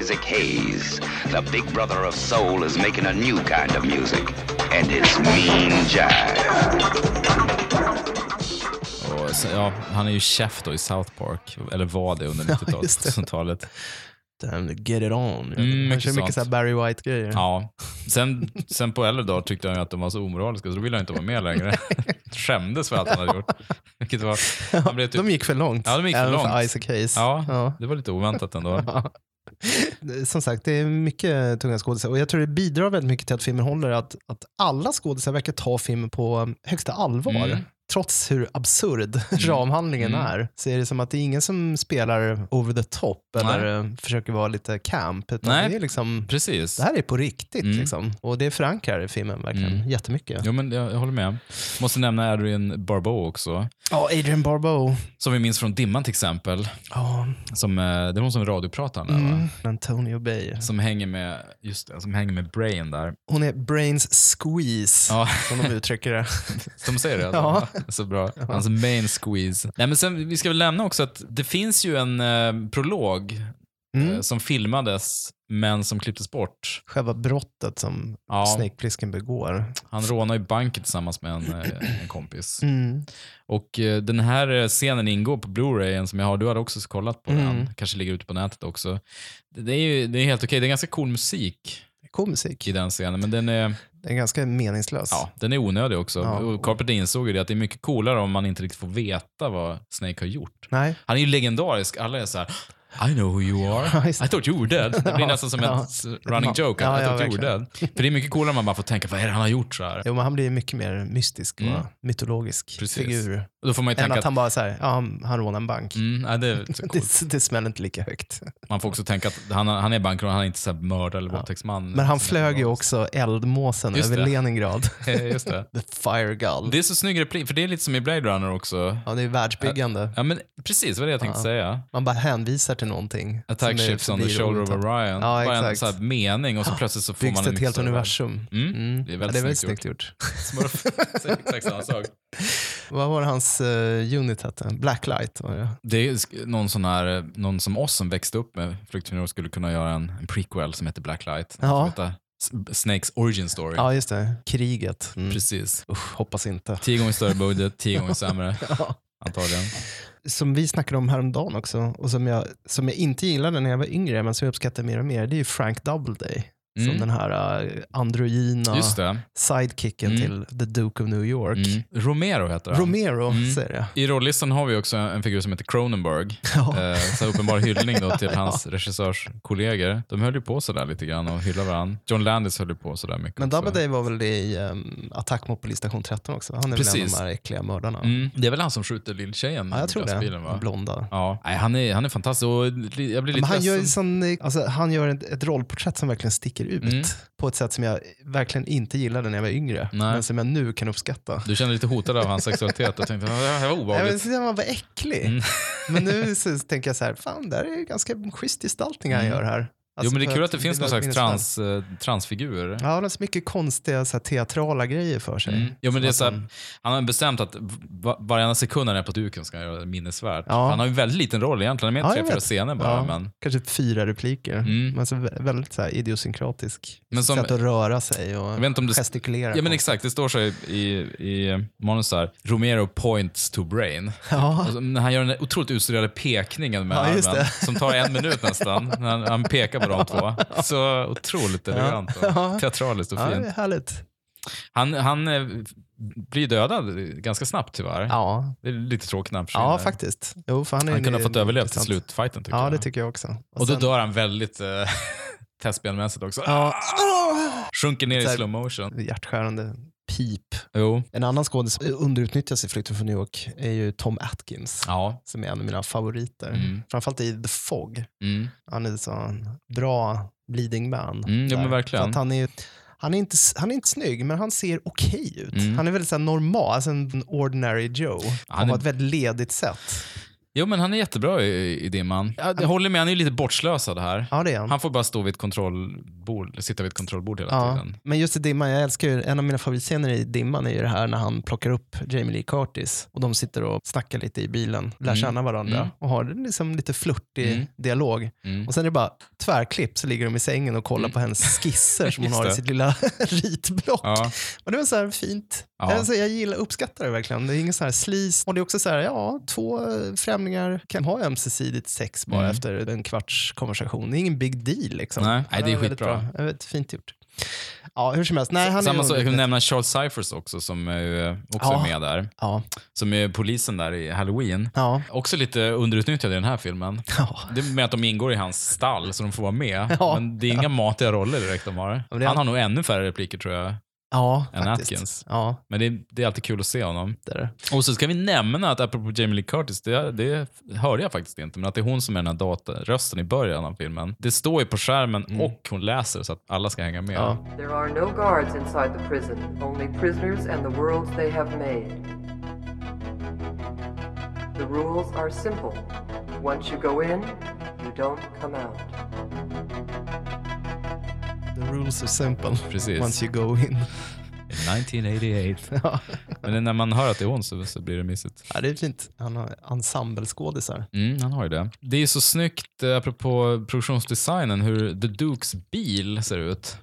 E: Isaac Hayes, the big brother of soul, is making a new kind of music. And it's mean jive.
A: Och, så, ja, han är ju chef då i South Park, eller var det under
B: Ja, just det.
A: 90-talet.
B: Damn, Get it on.
A: Mm,
B: han
A: mycket
B: kör
A: sånt.
B: mycket så här Barry White-grejer.
A: Ja. Sen, sen på äldre dag tyckte han ju att de var så omoraliska, så då ville han inte vara med längre. Skämdes för allt han hade gjort. Vilket var, han blev typ,
B: De gick för långt.
A: Ja, de gick för
B: även för
A: långt.
B: Isaac Hayes.
A: ja, det var lite oväntat ändå.
B: Som sagt, det är mycket tunga skådisar. Och jag tror det bidrar väldigt mycket till att filmen håller att, att alla skådisar verkar ta filmen på högsta allvar.
A: Mm.
B: trots hur absurd ramhandlingen är, så är det som att det är ingen som spelar over the top eller eh, försöker vara lite camp. Utan
A: Nej.
B: Det, är liksom,
A: Precis.
B: det här är på riktigt. Liksom. Och det förankrar filmen verkligen jättemycket.
A: Jo, men jag, jag håller med. Måste nämna Adrian Barbeau också.
B: Ja, Adrian Barbeau.
A: Som vi minns från Dimman till exempel.
B: Ja,
A: Som, eh, det var hon som är radiopratarna,
B: Mm.
A: va?
B: Antonio Bay.
A: Som hänger med, just det, som hänger med Brain där.
B: Hon är brains squeeze,
A: Ja.
B: som de uttrycker det.
A: De säger det? Alltså. Så bra. Hans main squeeze. Nej, men sen, vi ska väl nämna också att det finns ju en eh, prolog
B: Mm.
A: eh, som filmades, men som klipptes bort.
B: Själva brottet som
A: Ja.
B: Snake Plissken begår.
A: Han rånar ju banken tillsammans med en, eh, en kompis.
B: Mm.
A: Och eh, den här eh, scenen ingår på Blu-rayen som jag har. Du har också kollat på den.
B: Mm.
A: Kanske ligger ute på nätet också. Det det är ju det är helt okej. Det är ganska cool musik
B: Cool musik.
A: i den scenen, men den är,
B: Den är ganska meningslös.
A: ja, den är onödig också.
B: Ja.
A: Och Carpenter insåg ju det att det är mycket coolare om man inte riktigt får veta vad Snake har gjort.
B: Nej.
A: Han är ju legendarisk. Alla är så här, I know who you
B: Ja,
A: are.
B: just det.
A: I thought you were dead. Det blir nästan som en
B: Ja.
A: s- running joke.
B: Ja,
A: I
B: ja,
A: thought you were dead. För det är mycket coolare om man bara får tänka, vad är det han har gjort så här?
B: Jo, men han blir mycket mer mystisk och
A: Mm.
B: mytologisk
A: Precis.
B: figur.
A: Och då får man ju
B: Än
A: tänka
B: att
A: att,
B: han bara så här, ja, han, han rånar en bank.
A: mm, nej, det är så coolt.
B: Det, det smäller inte lika högt.
A: Man får också tänka att han, han är bankrån, han är inte så här mördare eller våldtäktsman.
B: Men han flög ju också eldmåsen
A: Just
B: över
A: det.
B: Leningrad.
A: Just det.
B: The fire gull.
A: Det är så snygg replik, för det är lite som i Blade Runner också.
B: ja, det är världsbyggande.
A: Ja, men precis vad det jag tänkte säga.
B: Man bara hänvisar till någonting.
A: Attack
B: som är
A: ships on the
B: förbi
A: shoulder of
B: roligt.
A: Orion.
B: Ja,
A: Bara en
B: exakt.
A: sån här mening och så plötsligt så får
B: Byggs
A: man
B: det
A: en
B: ett
A: mycket
B: helt
A: större
B: universum.
A: Mm. Det är
B: Ja,
A: väldigt
B: det är väldigt
A: snyggt
B: snyggt gjort.
A: värld. Smurf säger exakt samma sak.
B: Vad var hans eh, unit hette? Blacklight var det.
A: Det är sk- någon sån här, eh, någon som oss som växte upp med Flykt från jorden skulle kunna göra en, en prequel som heter Blacklight.
B: Ja.
A: Som heter S- Snakes origin story.
B: Ja, just det. Kriget. Mm.
A: Precis.
B: Usch, hoppas inte.
A: Tio gånger större budget, tio gånger sämre. Antagligen.
B: Som vi snackade om häromdagen också och som jag, som jag inte gillade när jag var yngre men som jag uppskattar mer och mer, det är ju Frank Doubleday. Som
A: Mm.
B: den här eh, androgyna
A: Just det.
B: sidekicken
A: Mm.
B: till The Duke of New York.
A: Mm. Romero heter han.
B: Romero säger jag.
A: I rolllistan har vi också en figur som heter Cronenberg.
B: Ja.
A: Eh, så uppenbar hyllning då till hans regissörskollegor. De höll ju på sådär lite grann och hyllade varandra. John Landis höll ju på sådär mycket
B: Men
A: också.
B: Doubleday var väl det i um, Attack mot polisstation 13 också? Han är väl en av
A: Precis.
B: de här äckliga mördarna?
A: Mm. Det är väl han som skjuter lilltjejen
B: Ja, jag tror
A: i lastbilen
B: det.
A: va?
B: Blonda.
A: Ja, Nej, han, är, han är fantastisk och li- jag blir lite
B: Men han gör, ju
A: ledsen.
B: sån, eh, alltså, han gör ett, ett rollporträtt som verkligen sticker ut
A: Mm.
B: på ett sätt som jag verkligen inte gillade när jag var yngre,
A: Nej.
B: men som jag nu kan uppskatta.
A: Du känner dig lite hotad av hans sexualitet och tänkte att det här var
B: Jag men,
A: obehagligt.
B: alltså,
A: Mm.
B: så han var äcklig. Men nu så tänker jag så här, fan det här är ju ganska schysst gestaltning han gör här.
A: Mm. Jo,
B: Alltså,
A: men det är
B: för
A: kul att det finns någon
B: var
A: slags
B: minnesvärd.
A: trans, eh, transfigur.
B: Ja, han har så mycket konstiga så här, teatrala grejer för sig.
A: Mm. Jo, men det är så
B: Som att
A: här, han har bestämt att va- varenda sekund han är på duken ska han göra det minnesvärt.
B: Ja.
A: Han har ju väldigt liten roll egentligen, han är med
B: Ja,
A: i
B: jag
A: tre, fyra
B: vet.
A: scener bara.
B: Ja,
A: Men,
B: Kanske typ fyra repliker,
A: Mm.
B: men så vä- väldigt så här, idiosynkratisk.
A: Men som-
B: sätt att röra sig
A: jag
B: och
A: vet inte om det...
B: gestikulera.
A: Ja, men
B: på.
A: exakt. Det står så i, i, i manus så här, Romero points to brain.
B: Ja.
A: Och så- men Han gör den där otroligt utstuderade pekningen med
B: Ja, just
A: armen,
B: det.
A: som tar en minut nästan. när Han, han pekar på de två. Så otroligt elegant och teatraliskt och
B: Ja, det
A: fint.
B: är härligt.
A: Han, han eh, blir dödad ganska snabbt tyvärr.
B: Ja,
A: Det är lite tråkigt när han försvinner.
B: Ja, faktiskt. Jo, för han är
A: Han
B: ju
A: kunde ha
B: ny-
A: fått överleva till
B: intressant.
A: slutfighten tycker
B: Ja,
A: jag.
B: det tycker jag också.
A: och
B: sen-
A: då dör han väldigt eh, testspelmässigt också.
B: Ja,
A: Sjunker ner i
B: Så här-
A: slow motion.
B: hjärtskärande pip.
A: Jo.
B: En annan skådis som underutnyttjas i Flykten från New York är ju Tom Atkins,
A: Ja.
B: som är en av mina favoriter.
A: Mm.
B: Framförallt i The Fog.
A: Mm.
B: Han är så en bra leading man.
A: Mm, ja,
B: där.
A: men verkligen.
B: För att han är han är, inte, s- han är inte snygg, men han ser okej ut.
A: Mm.
B: Han är väldigt så här normal, alltså en ordinary Joe. Han
A: är-
B: har ett väldigt ledigt sätt.
A: Jo, men han är jättebra i, i Dimman. Jag, jag håller med, han är ju lite bortslösad här.
B: Ja, det är han.
A: Han får bara stå vid ett kontrollbord, sitta vid ett kontrollbord hela
B: Ja,
A: tiden.
B: men just i Dimman, jag älskar ju, en av mina favoritscener i Dimman är ju det här när han plockar upp Jamie Lee Curtis och de sitter och snackar lite i bilen, lär
A: Mm.
B: känna varandra
A: Mm.
B: och har en liksom lite flörtig
A: Mm.
B: dialog.
A: Mm.
B: Och sen är det bara tvärklipp så ligger de i sängen och kollar på hennes skisser som hon
A: Just
B: har i
A: det.
B: sitt lilla ritblock.
A: Ja.
B: Men det var så här fint.
A: Ja.
B: Alltså, jag gillar, uppskattar det verkligen. Det är ingen så här slis. Och det är också så här, ja, två eh, främlingar kan ha ömsesidigt sex bara
A: Mm.
B: efter en kvarts konversation. Det är ingen big deal liksom.
A: Nej, nej, det är
B: väldigt
A: skitbra.
B: bra. Det är väldigt fint gjort. Ja, hur som helst. Nej, han
A: Samma sak,
B: är
A: jag kan
B: underutnyttjad.
A: nämna Charles Cyphers också, som är, ju, eh, också
B: Ja.
A: är med där.
B: Ja,
A: Som är polisen där i Halloween.
B: ja.
A: Också lite underutnyttjad i den här filmen.
B: Ja.
A: Det är med att de ingår i hans stall, så de får vara med.
B: Ja.
A: Men det är inga matiga roller direkt de har.
B: men det är-
A: Han har nog ännu färre repliker tror jag.
B: Ja,
A: Än
B: faktiskt.
A: Atkins.
B: Ja,
A: Men det är, det är alltid kul att se honom.
B: det är det.
A: Och så ska vi nämna att apropå Jamie Lee Curtis, det, det hörde jag faktiskt inte, men att det är hon som är den här data, rösten i början av filmen. Det står ju på skärmen och hon läser så att alla ska hänga med.
B: Mm. Ja.
G: There are no guards inside the prison, only prisoners and the worlds they have made. The rules are simple. Once you go in, you don't come out.
B: The rules are simple.
A: Precis.
B: Once you go in.
A: 1988.
B: ja,
A: Men när man hör att det är hon så, så blir det mysigt.
B: Ja, det är fint. Han har ensembleskådisar.
A: Mm, han har ju det. Det är ju så snyggt, eh, apropå produktionsdesignen, hur The Dukes bil ser ut.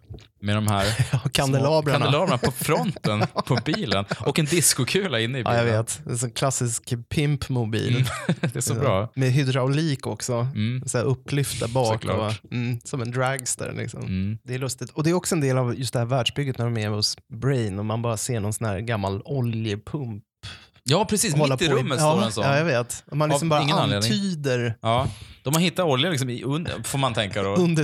A: Med de här
B: Ja,
A: små
B: kandelabrarna.
A: kandelabrarna på fronten på bilen. Och en diskokula inne i
B: Ja, jag
A: bilen.
B: vet. Det är en sån klassisk pimpmobil.
A: det är Mm, så bra. Mm.
B: Med hydraulik också. Så här upplyfta bak.
A: Såklart. Mm.
B: va? Mm, som en dragster. Liksom. Det är lustigt. Och det är också en del av just det här världsbygget när de är hos Brain och man bara ser någon sån här gammal oljepump.
A: Ja, precis.
B: hålla
A: Mitt i
B: på
A: rummet står
B: ja,
A: en sån.
B: Ja, jag vet. Och Man
A: Av
B: liksom bara
A: ingen anledning.
B: antyder
A: Ja, de har hittat olja liksom i under, får man tänka då.
B: under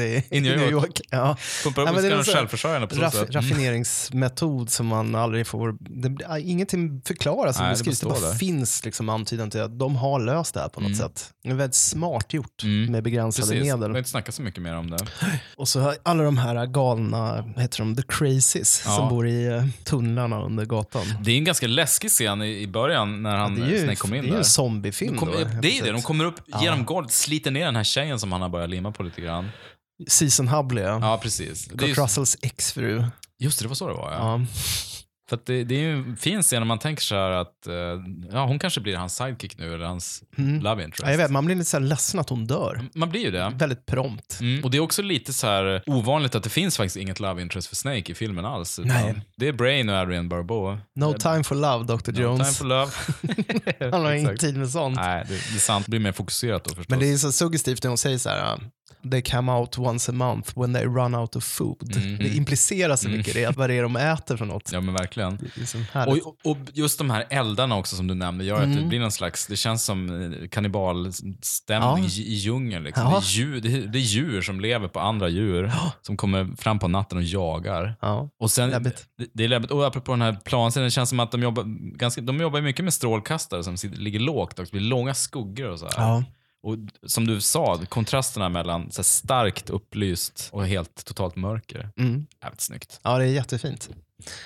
B: i,
A: I New York.
B: Ja.
A: Pumpar upp
B: men det är
A: ska de
B: någon sån här
A: självförsörjande på så
B: Raff,
A: sätt. Mm.
B: Raffineringsmetod som man aldrig får... Det, blir- ingenting förklaras eller
A: Nej, det
B: beskrivs. Det,
A: bara står
B: bara
A: där. Mm.
B: finns liksom antydan till att de har löst det här på något sätt. Det är väldigt smart gjort med begränsade
A: Precis, vi har
B: medel.
A: inte snackat så mycket mer om det.
B: Och så har alla de här galna, vad heter de, the crazies,
A: Ja.
B: som bor i eh, tunnlarna under gatan.
A: Det är en ganska läskig scen i, i början när han
B: Det är ju,
A: Snake kom in
B: det är ju
A: där.
B: en zombiefilm.
A: De kom,
B: då, helt
A: det är ju det, de
B: plötsligt.
A: kommer upp genom golvet, sliter ner den här tjejen som han har börjat limma på lite grann.
B: Season Hubley, ja.
A: Ja, precis. Det är
B: Kurt
A: ju,
B: Russells exfru.
A: just det, det var så det var ja.
B: Ja.
A: För att det, det är ju en fin scen om man tänker så här att eh, ja, hon kanske blir hans sidekick nu, eller hans love interest.
B: Mm. Ja, jag vet, man blir lite så här ledsen att hon dör.
A: Man blir ju det.
B: Väldigt prompt.
A: Mm. Och det är också lite så här ovanligt att det finns faktiskt inget love interest för Snake i filmen alls. utan
B: Nej.
A: Det är Brain och Adrian Barbeau.
B: No time for love, Dr. Jones.
A: Mm. Time for love.
B: Han har ingen
A: Exakt.
B: tid med sånt.
A: Nej, det, det är sant. Det blir mer fokuserat då förstås.
B: Men det är så suggestivt när hon säger så här, uh, they come out once a month when they run out of food.
A: Mhm.
B: Det implicerar så mycket det,
A: Mm.
B: vad det är de äter för något.
A: Ja, men verkligen.
B: Det Mm. är liksom så härligt.
A: Och, och just de här eldarna också som du nämnde gör att det blir någon slags, det känns som eh, kannibalstämning
B: Ja.
A: i i djungeln. Liksom.
B: Ja.
A: Det, är djur, det, är- det är djur som lever på andra djur som kommer fram på natten och jagar.
B: Ja.
A: Och sen,
B: Läbbigt.
A: Det, det är läbbigt. Och apropå den här planscenen, det känns som att de jobbar, ganska, de jobbar mycket med strålkastare som sitter, ligger lågt och det blir långa skuggor och så här.
B: Ja.
A: Och som du sa, kontrasterna mellan så här starkt upplyst och helt totalt mörker.
B: Mm.
A: Jävligt snyggt.
B: ja, det är jättefint.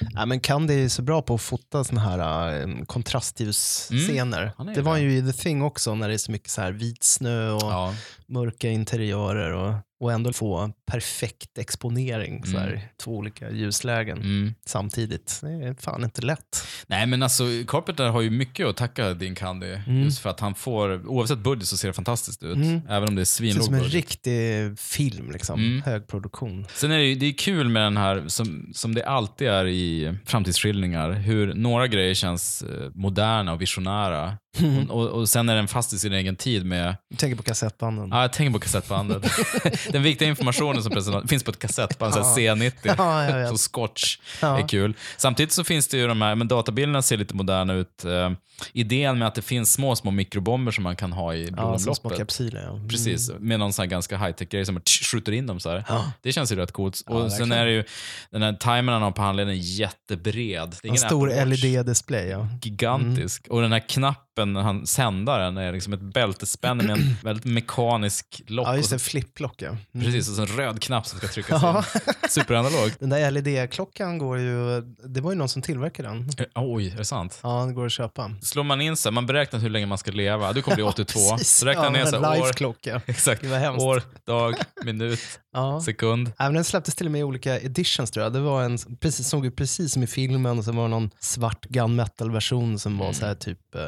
B: Ja, men Candy är så bra på att fota såna här uh, kontrastljusscener.
A: Mm. Han är
B: Det
A: ju
B: var
A: det.
B: ju i The Thing också när det är så mycket så här vit snö och
A: Ja.
B: mörka interiörer och, och ändå få perfekt exponering. Så här, Två olika ljuslägen
A: Mm.
B: samtidigt. Det är fan inte lätt.
A: Nej men alltså Carpenter har ju mycket att tacka Dean Candy.
B: Mm.
A: Just för att han får, oavsett budget så ser det fantastiskt ut. Även om det är
B: Det Mm. ser ut
A: svinlåg
B: som en
A: budget.
B: riktig film, liksom.
A: Mm.
B: hög produktion.
A: Sen är det ju det är kul med den här, som, som det alltid är i framtidsskildringar, hur några grejer känns eh, moderna och visionära.
B: Mhm.
A: Och, och, och sen är den fast i sin egen tid med,
B: Jag tänker på kassettbanden.
A: ja jag tänker på kassettbandet. den viktiga informationen som presenteras finns på ett kassettband, så här C90.
B: Ja, jag vet.
A: Så scotch
B: Ja.
A: är kul. Samtidigt så finns det ju de här, men databilderna ser lite moderna ut. Eh, idén med att det finns små, små mikrobomber som man kan ha i
B: Ja, som små
A: blodomloppet.
B: kapsyler. Ja. Mm.
A: Precis, med någon sån här ganska high-tech grej som bara tsch, skjuter in dem så här. Det känns ju rätt coolt. Och sen är det ju, den här timern han har på handleden är jättebred. Det är
B: En
A: ingen
B: stor E
A: Apple Watch.
B: LED-display. Ja.
A: Gigantisk.
B: Mm.
A: Och den här knappen, han, sändaren, är liksom ett bältespänne med en väldigt mekanisk lock.
B: ja,
A: och
B: just
A: så,
B: det. Flipplock, ja. Mm.
A: precis, och så en röd knapp som ska tryckas in. Superanalog.
B: Den där LED-klockan går ju... Det var ju någon som tillverkade den.
A: Eh, Oj, är det sant?
B: Ja, den går att köpa.
A: Slår man in så här, man beräknar hur länge man ska leva. Du kommer bli 82.
B: Precis.
A: så räknar
B: ja,
A: ner så här, år,
B: Life-klocka.
A: exakt,
B: Gud, vad hemskt.
A: år, dag, minut,
B: Ja.
A: sekund.
B: Även den släpptes till och med i olika editions tror jag. Det var en, precis, såg ut precis som i filmen och sen var det någon svart gun metal-version som
A: Mm.
B: var så här typ eh,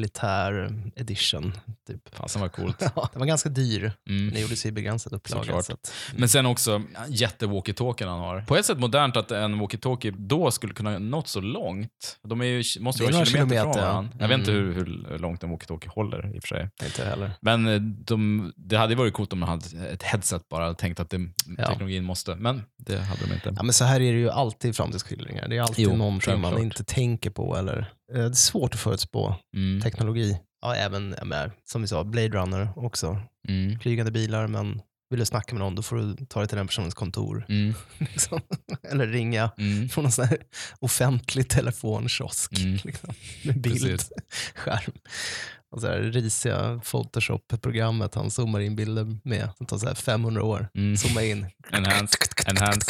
B: militär edition. Typ.
A: Fasen vad coolt.
B: Ja, den var ganska dyr.
A: Mm.
B: Den gjordes i begränsad upplaga.
A: Såklart.
B: Så att,
A: Men sen också jätte-walkie-talkien han har. På ett sätt modernt att en walkie-talkie då skulle kunna nått så långt. De är ju, måste ju
B: Det
A: vara
B: är några
A: kilometer,
B: kilometer,
A: från
B: ja. Mm.
A: varandra. Jag vet inte hur, hur långt en walkie-talkie håller i och för sig.
B: inte heller.
A: Men eh, de, det hade ju varit coolt om de hade ett headset bara och tänkt att det,
B: Ja.
A: teknologin måste. Men det hade de inte.
B: Ja, men så här är det ju alltid i framtidsskildringar. Det är alltid
A: Jo,
B: någonting man
A: självklart.
B: inte tänker på. Eller, eh, det är svårt att förutspå
A: Mm,
B: teknologi. Ja, även jag menar, som vi sa, Blade Runner också.
A: mm.
B: Flygande bilar, men Vill du snacka med någon, då får du ta dig till den personens kontor.
A: Mm.
B: Liksom. Eller ringa
A: Mm.
B: från någon sån här offentlig telefonkiosk.
A: Mm.
B: Liksom, med bild,
A: Precis.
B: skärm. Och så här risiga Photoshop-programmet han zoomar in bilder med. Det tar så här 500 år.
A: Mm.
B: Zooma in.
A: Enhance, enhance,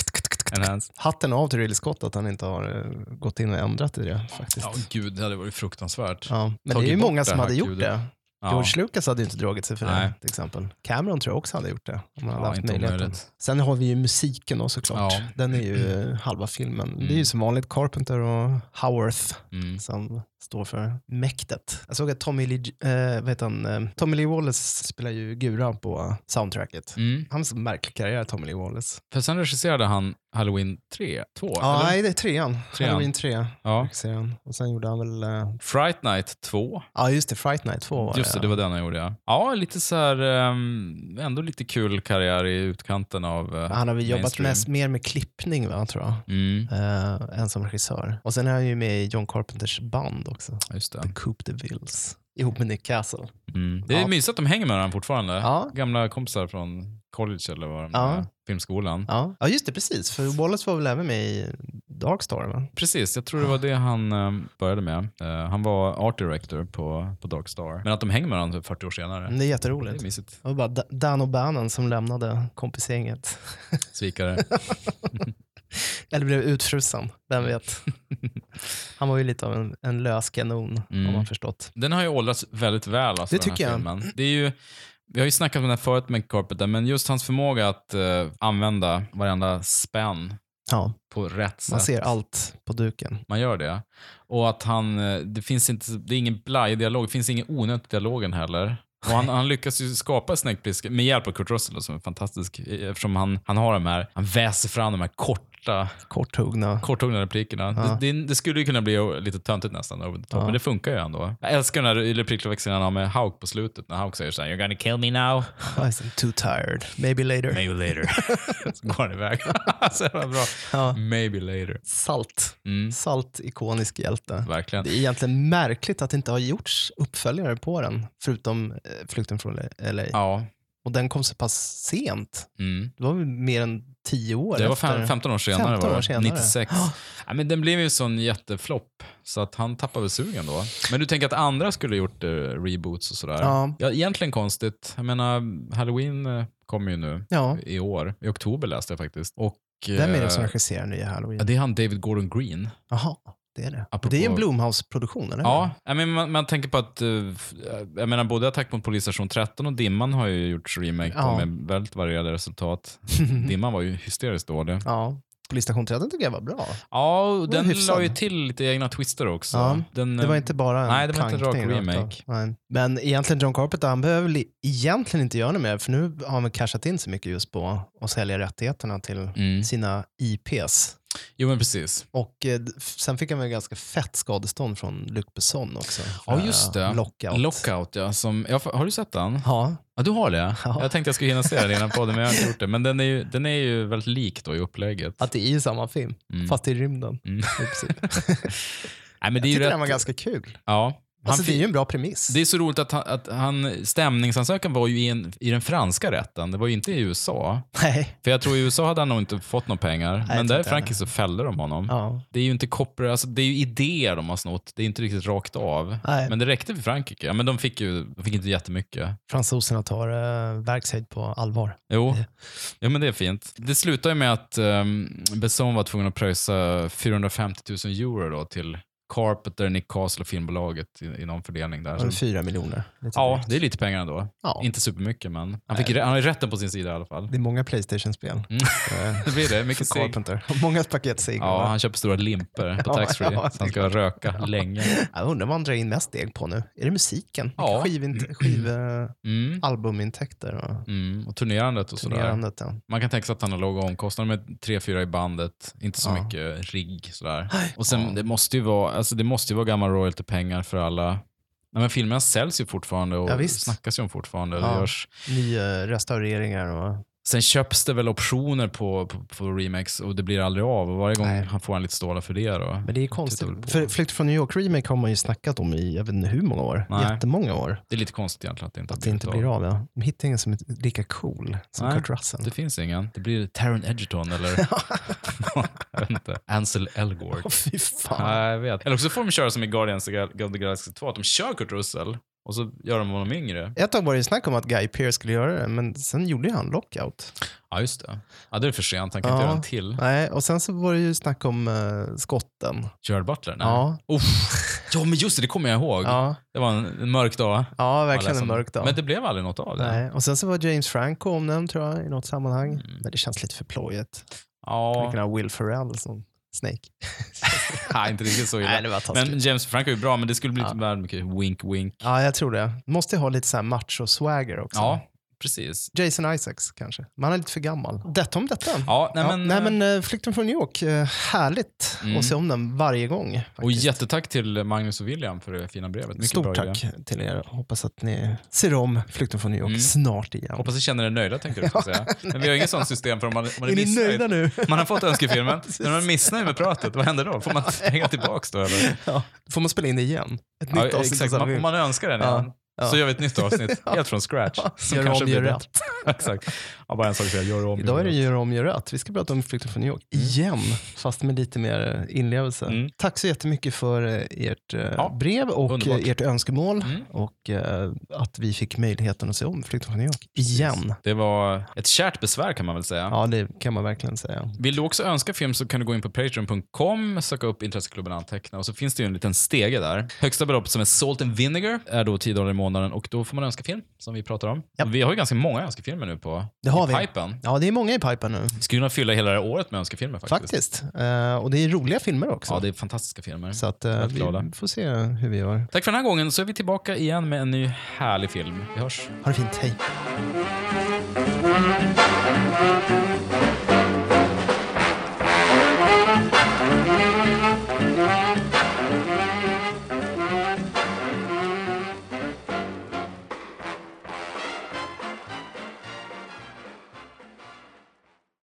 A: enhance.
B: Hatten av till Ridley Scott att han inte har eh, gått in och ändrat i det faktiskt.
A: Ja, gud, det hade varit fruktansvärt.
B: Ja, men det är
A: Tagit
B: ju
A: bort
B: många
A: det
B: som
A: här
B: hade gjort
A: kudet.
B: det.
A: Ja.
B: George Lucas hade ju inte dragit sig för
A: Nej.
B: det till exempel. Cameron tror jag också hade gjort det. Om han hade
A: Ja,
B: haft
A: inte
B: möjligheten.
A: omöjligt.
B: Sen har vi ju musiken då såklart.
A: Ja.
B: Den är ju eh, halva filmen. Det är ju som vanligt Carpenter och Howarth
A: Mm.
B: som står för mäktet. Jag såg att Tommy Lee, eh, vad heter han, eh, Tommy Lee Wallace spelar ju Gura på soundtracket.
A: Mm.
B: Han har så märklig karriär, Tommy Lee Wallace.
A: För sen regisserade han Halloween 3, 2,
B: Ja,
A: eller?
B: nej, det är trean.
A: Trean.
B: Halloween 3.
A: Ja.
B: Och sen gjorde han väl, eh,
A: Fright Night 2.
B: ja just det, Fright Night 2 var
A: Just det, det var den jag gjorde ja. Ja, lite så här, ehm, ändå lite kul karriär i utkanten av eh,
B: Han har väl jobbat
A: mainstream.
B: mest, mer med klippning, va, tror jag.
A: Mm,
B: Eh, än som regissör. Och sen är han ju med i John Carpenters band också.
A: just
B: The
A: det.
B: Coop de Vills. Ihop med Nick Castle.
A: Mm. Det är
B: Ja.
A: mysigt att de hänger med varandra fortfarande.
B: Ja.
A: Gamla kompisar från college eller vad de
B: Ja.
A: är, filmskolan.
B: Ja. ja, just det, precis. För Wallace var väl även med i Darkstar, va?
A: Precis, jag tror det var det han ehm, började med. Eh, han var art director på, på Darkstar. Men att de hänger med varandra typ 40 år senare.
B: Men Det är
A: Det är
B: jätteroligt.
A: mysigt.
B: Det var bara Da- Dan O'Bannon som lämnade kompisgänget.
A: Svikare.
B: Eller blev utfrusen, vem vet. Han var ju lite av en, en lös kanon,
A: Mm.
B: har man förstått.
A: Den har ju åldrats väldigt väl. Alltså,
B: Det
A: den här
B: tycker jag.
A: Filmen. Det är ju, vi har ju snackat om den här förut med Carpenter, men just hans förmåga att eh, använda varenda spänn
B: Ja,
A: på rätt sätt.
B: man ser allt på duken.
A: Man gör det. Och att han, eh, det finns inte, det är ingen blaj dialog, det finns ingen onödig dialogen heller. Och han, han lyckas ju skapa Snake Plissken med hjälp av Kurt Russell då, som är fantastisk, eh, eftersom han, han har de här, han väser fram de här korta,
B: Korthuggna.
A: korthuggna replikerna. Det, det, det skulle ju kunna bli lite töntigt nästan, over the top, men det funkar ju ändå. Jag älskar den här replikväxlingen han har med Hauk på slutet, när Hauk säger såhär “You're gonna kill me now,
B: I'm too tired. Maybe later.
A: maybe later”. så går han iväg. så jävla bra.
B: Ja.
A: Maybe later.
B: Salt.
A: Mm.
B: Salt, ikonisk hjälte.
A: Verkligen.
B: Det är egentligen märkligt att det inte har gjorts uppföljare på den, förutom eh, Flykten från LA.
A: Ja.
B: Och den kom så pass sent.
A: Mm.
B: Det var väl mer än tio år
A: Det var
B: efter.
A: fem, 15 år senare.
B: 15 år
A: var det.
B: senare.
A: 96. Ja, men den blev ju en sån jätteflopp, så att han tappade väl sugen då. Men du tänker att andra skulle gjort eh, reboots och sådär.
B: Ja.
A: egentligen konstigt. Jag menar, Halloween eh, kommer ju nu
B: Ja,
A: i år. I oktober läste jag faktiskt. Och,
B: vem är
A: eh,
B: det som regisserar nya
A: Ja,
B: Halloween?
A: det är han David Gordon Green.
B: Jaha, det är det.
A: Apropå-
B: Det är en Blomhouse-produktion, eller
A: Ja, jag menar, man, man tänker på att eh, f- jag menar, både Attack mot polisstation 13 och Dimman har ju gjorts remake på
B: Ja. Mm.
A: med väldigt varierade resultat. Dimman var ju hysteriskt dålig.
B: ja. Polisstation 13 tycker jag var bra.
A: Ja, och
B: Den
A: den
B: var hyfsad.
A: la ju till lite egna twister också.
B: Ja,
A: Den,
B: Det var inte bara en
A: Nej, det var inte en rak
B: plankning rakt av.
A: remake.
B: Nej. Men egentligen John Carpenter, han behöver li- egentligen inte göra något mer, för nu har han väl cashat in så mycket just på att sälja rättigheterna till
A: Mm.
B: sina IPs.
A: Jo, men precis.
B: Och eh, d- f- sen fick han väl ganska fett skadestånd från Luc Besson också. för
A: Ja, just det.
B: Lockout.
A: Lockout, ja. Som, ja. fa- Har du sett den?
B: Ja,
A: Ja, du har det?
B: Ja.
A: Jag tänkte jag skulle hinna se den innan podden, men jag har inte gjort det. Men den är ju, den är ju väldigt lik då i upplägget.
B: att det är ju samma film,
A: Mm.
B: fast i rymden.
A: Mm.
B: I princip.
A: Nej, men det är
B: Jag
A: ju
B: tyckte
A: rätt...
B: den var ganska kul.
A: Ja. Han
B: Alltså, det är
A: fick-
B: ju en bra premiss.
A: Det är så roligt att, han, att han, stämningsansökan var ju i, en, i den franska rätten, det var ju inte i USA.
B: Nej.
A: För jag tror i USA hade han nog inte fått några pengar,
B: jag
A: men
B: tror
A: där i
B: inte
A: Frankrike så fällde de honom.
B: Ja.
A: Det är ju inte koppar, alltså det är ju idéer de har snott. Det är inte riktigt rakt av.
B: Nej.
A: Men det räckte för Frankrike. Ja, men de fick ju de fick inte jättemycket.
B: Fransoserna tar eh, verkshöjd på allvar.
A: Jo, ja, men det är fint. Det slutar ju med att um, Besson var tvungen att pröjsa 450 000 euro då till Carpenter, Nick Castle och filmbolaget i, i någon fördelning där.
B: Över
A: Så-
B: fyra miljoner. lite
A: Alltså, Ja,
B: drygt.
A: det är lite pengar ändå.
B: Ja.
A: Inte supermycket, men han, fick, rä- han har ju rätten på sin sida i alla fall.
B: det är många Playstation-spel. Eh,
A: Mm. Det blir det. Mycket
B: för
A: cigg.
B: Carpenter. Och Många paket cigg.
A: Ja,
B: va?
A: han köper stora limper på
B: Ja,
A: taxfree.
B: ja,
A: så han ska röka länge.
B: Jag undrar vad han drar in mest deg på nu. Är det musiken?
A: Ja.
B: Skivint- Skiv, eh,
A: Mm.
B: albumintäkter och
A: Mm. Och turnerandet och sådär.
B: turnerandet. Ja.
A: Man kan tänka sig att han har låga omkostnader med 3-4 i bandet, inte så
B: Ja.
A: mycket rigg. Sådär. Och sen, det, måste ju vara, alltså, det måste ju vara gamla royaltypengar för alla. Nej, men filmerna säljs ju fortfarande och
B: Ja, visst.
A: snackas ju om fortfarande.
B: Ja.
A: Det görs
B: Nya restaureringar och
A: Sen köps det väl optioner på, på, på remakes och det blir aldrig av. Och varje gång
B: Nej.
A: han får han lite stålar för det. Då.
B: Men det är
A: Tittar väl på.
B: konstigt. För Flykt från New York Remake har man ju snackat om i jag vet inte hur många år.
A: Nej.
B: Jättemånga år.
A: Det är lite konstigt egentligen att det inte, har
B: Att det inte
A: blivit
B: blir av. Ja. De hittar ingen som är lika cool som
A: Nej,
B: Kurt Russell.
A: Det finns ingen. Det blir Taron Edgerton eller jag vet inte. Ansel Elgort.
B: Åh, fy fan.
A: Nej, jag vet. Eller också får de köra som i Guardians of the Galaxy 2, att de kör Kurt Russell och så gör de honom yngre.
B: Ett tag var det ju snack om att Guy Pearce skulle göra det, men sen gjorde ju han Lockout.
A: Ja, just det. Ja, det är för sent. Han kan
B: Ja.
A: inte göra en till.
B: Nej, och sen så var det ju snack om eh, skotten.
A: Gerard Butler? Nej.
B: Ja.
A: Uff. ja, men just det. Det kommer jag ihåg.
B: Ja,
A: Det var en, en mörk dag.
B: ja verkligen
A: Alla
B: en
A: som-
B: mörk dag.
A: Men det blev aldrig något av det.
B: Nej. Och sen så var James Franco omnämnd tror jag i något sammanhang. Men det känns lite för plojigt. Man
A: Mm. Ja,
B: kan ha Will Ferrell som Snake.
A: nej, inte riktigt så illa.
B: Nej, det var taskigt.
A: men James Franco är ju bra, men det skulle bli lite väl mycket wink, wink.
B: Ja, jag tror det. Måste ju ha lite så här macho-swagger också.
A: Ja, precis.
B: Jason Isaacs kanske. Man är lite för gammal. Detta om detta.
A: Ja, nej,
B: Ja,
A: men,
B: nej, men eh, Flykten från New York, eh, härligt
A: Mm.
B: att se om den varje gång.
A: Och
B: faktiskt.
A: jättetack till Magnus och William för det fina brevet. Mycket bra
B: Stort
A: idé.
B: tack till er. Hoppas att ni ser om Flykten från New York
A: Mm.
B: snart igen.
A: Hoppas ni känner er nöjda, tänkte du ska säga. Men vi har inget sånt system för om man, om man
B: är ni
A: missnöjd.
B: nöjda nu?
A: Man har fått önskefilmen, men om man är missnöjd med pratet, vad händer då? Får man hänga tillbaka då? Eller?
B: ja. Får man spela in det igen? Ett
A: Ja,
B: nytt avsnitt
A: exakt.
B: av
A: Man, om
B: Samma
A: man önskar den
B: Ja,
A: igen,
B: ja.
A: så gör vi ett nytt avsnitt helt från scratch. som
B: Gör
A: kanske
B: om, gör
A: blir
B: rätt.
A: exakt. Ja, bara en sak att säga, gör om,
B: Idag
A: gör
B: är det
A: rätt.
B: Gör om, gör rätt. Vi ska prata om Flykten från New York igen, fast med lite mer eh, inlevelse.
A: Mm.
B: Tack så jättemycket för eh, ert eh,
A: Ja,
B: brev och
A: underbart.
B: eh, ert önskemål
A: Mm.
B: och eh, att vi fick möjligheten att se om Flykten från New York igen.
A: Det var ett kärt besvär kan man väl säga.
B: Ja, det kan man verkligen säga.
A: Vill du också önska film så kan du gå in på patreon.com, söka upp Intresseklubben och anteckna och så finns det ju en liten stege där. Högsta belopp som är Salt and Vinegar är då 10 dollar i månaden och då får man önska film som vi pratar om.
B: Japp.
A: Vi har ju ganska många önskefilmer nu på
B: Det har
A: i
B: vi.
A: pipen.
B: Ja, det är många i pipen nu,
A: Vi skulle kunna fylla hela det här året med önskefilmer faktiskt.
B: faktiskt. Eh, och det är roliga filmer också.
A: Ja, det är fantastiska filmer.
B: Så att, eh,
A: Väldigt
B: vi
A: glada.
B: får se hur vi gör.
A: Tack för den här gången, så är vi tillbaka igen med en ny härlig film. Vi hörs.
B: Ha det fint, hej.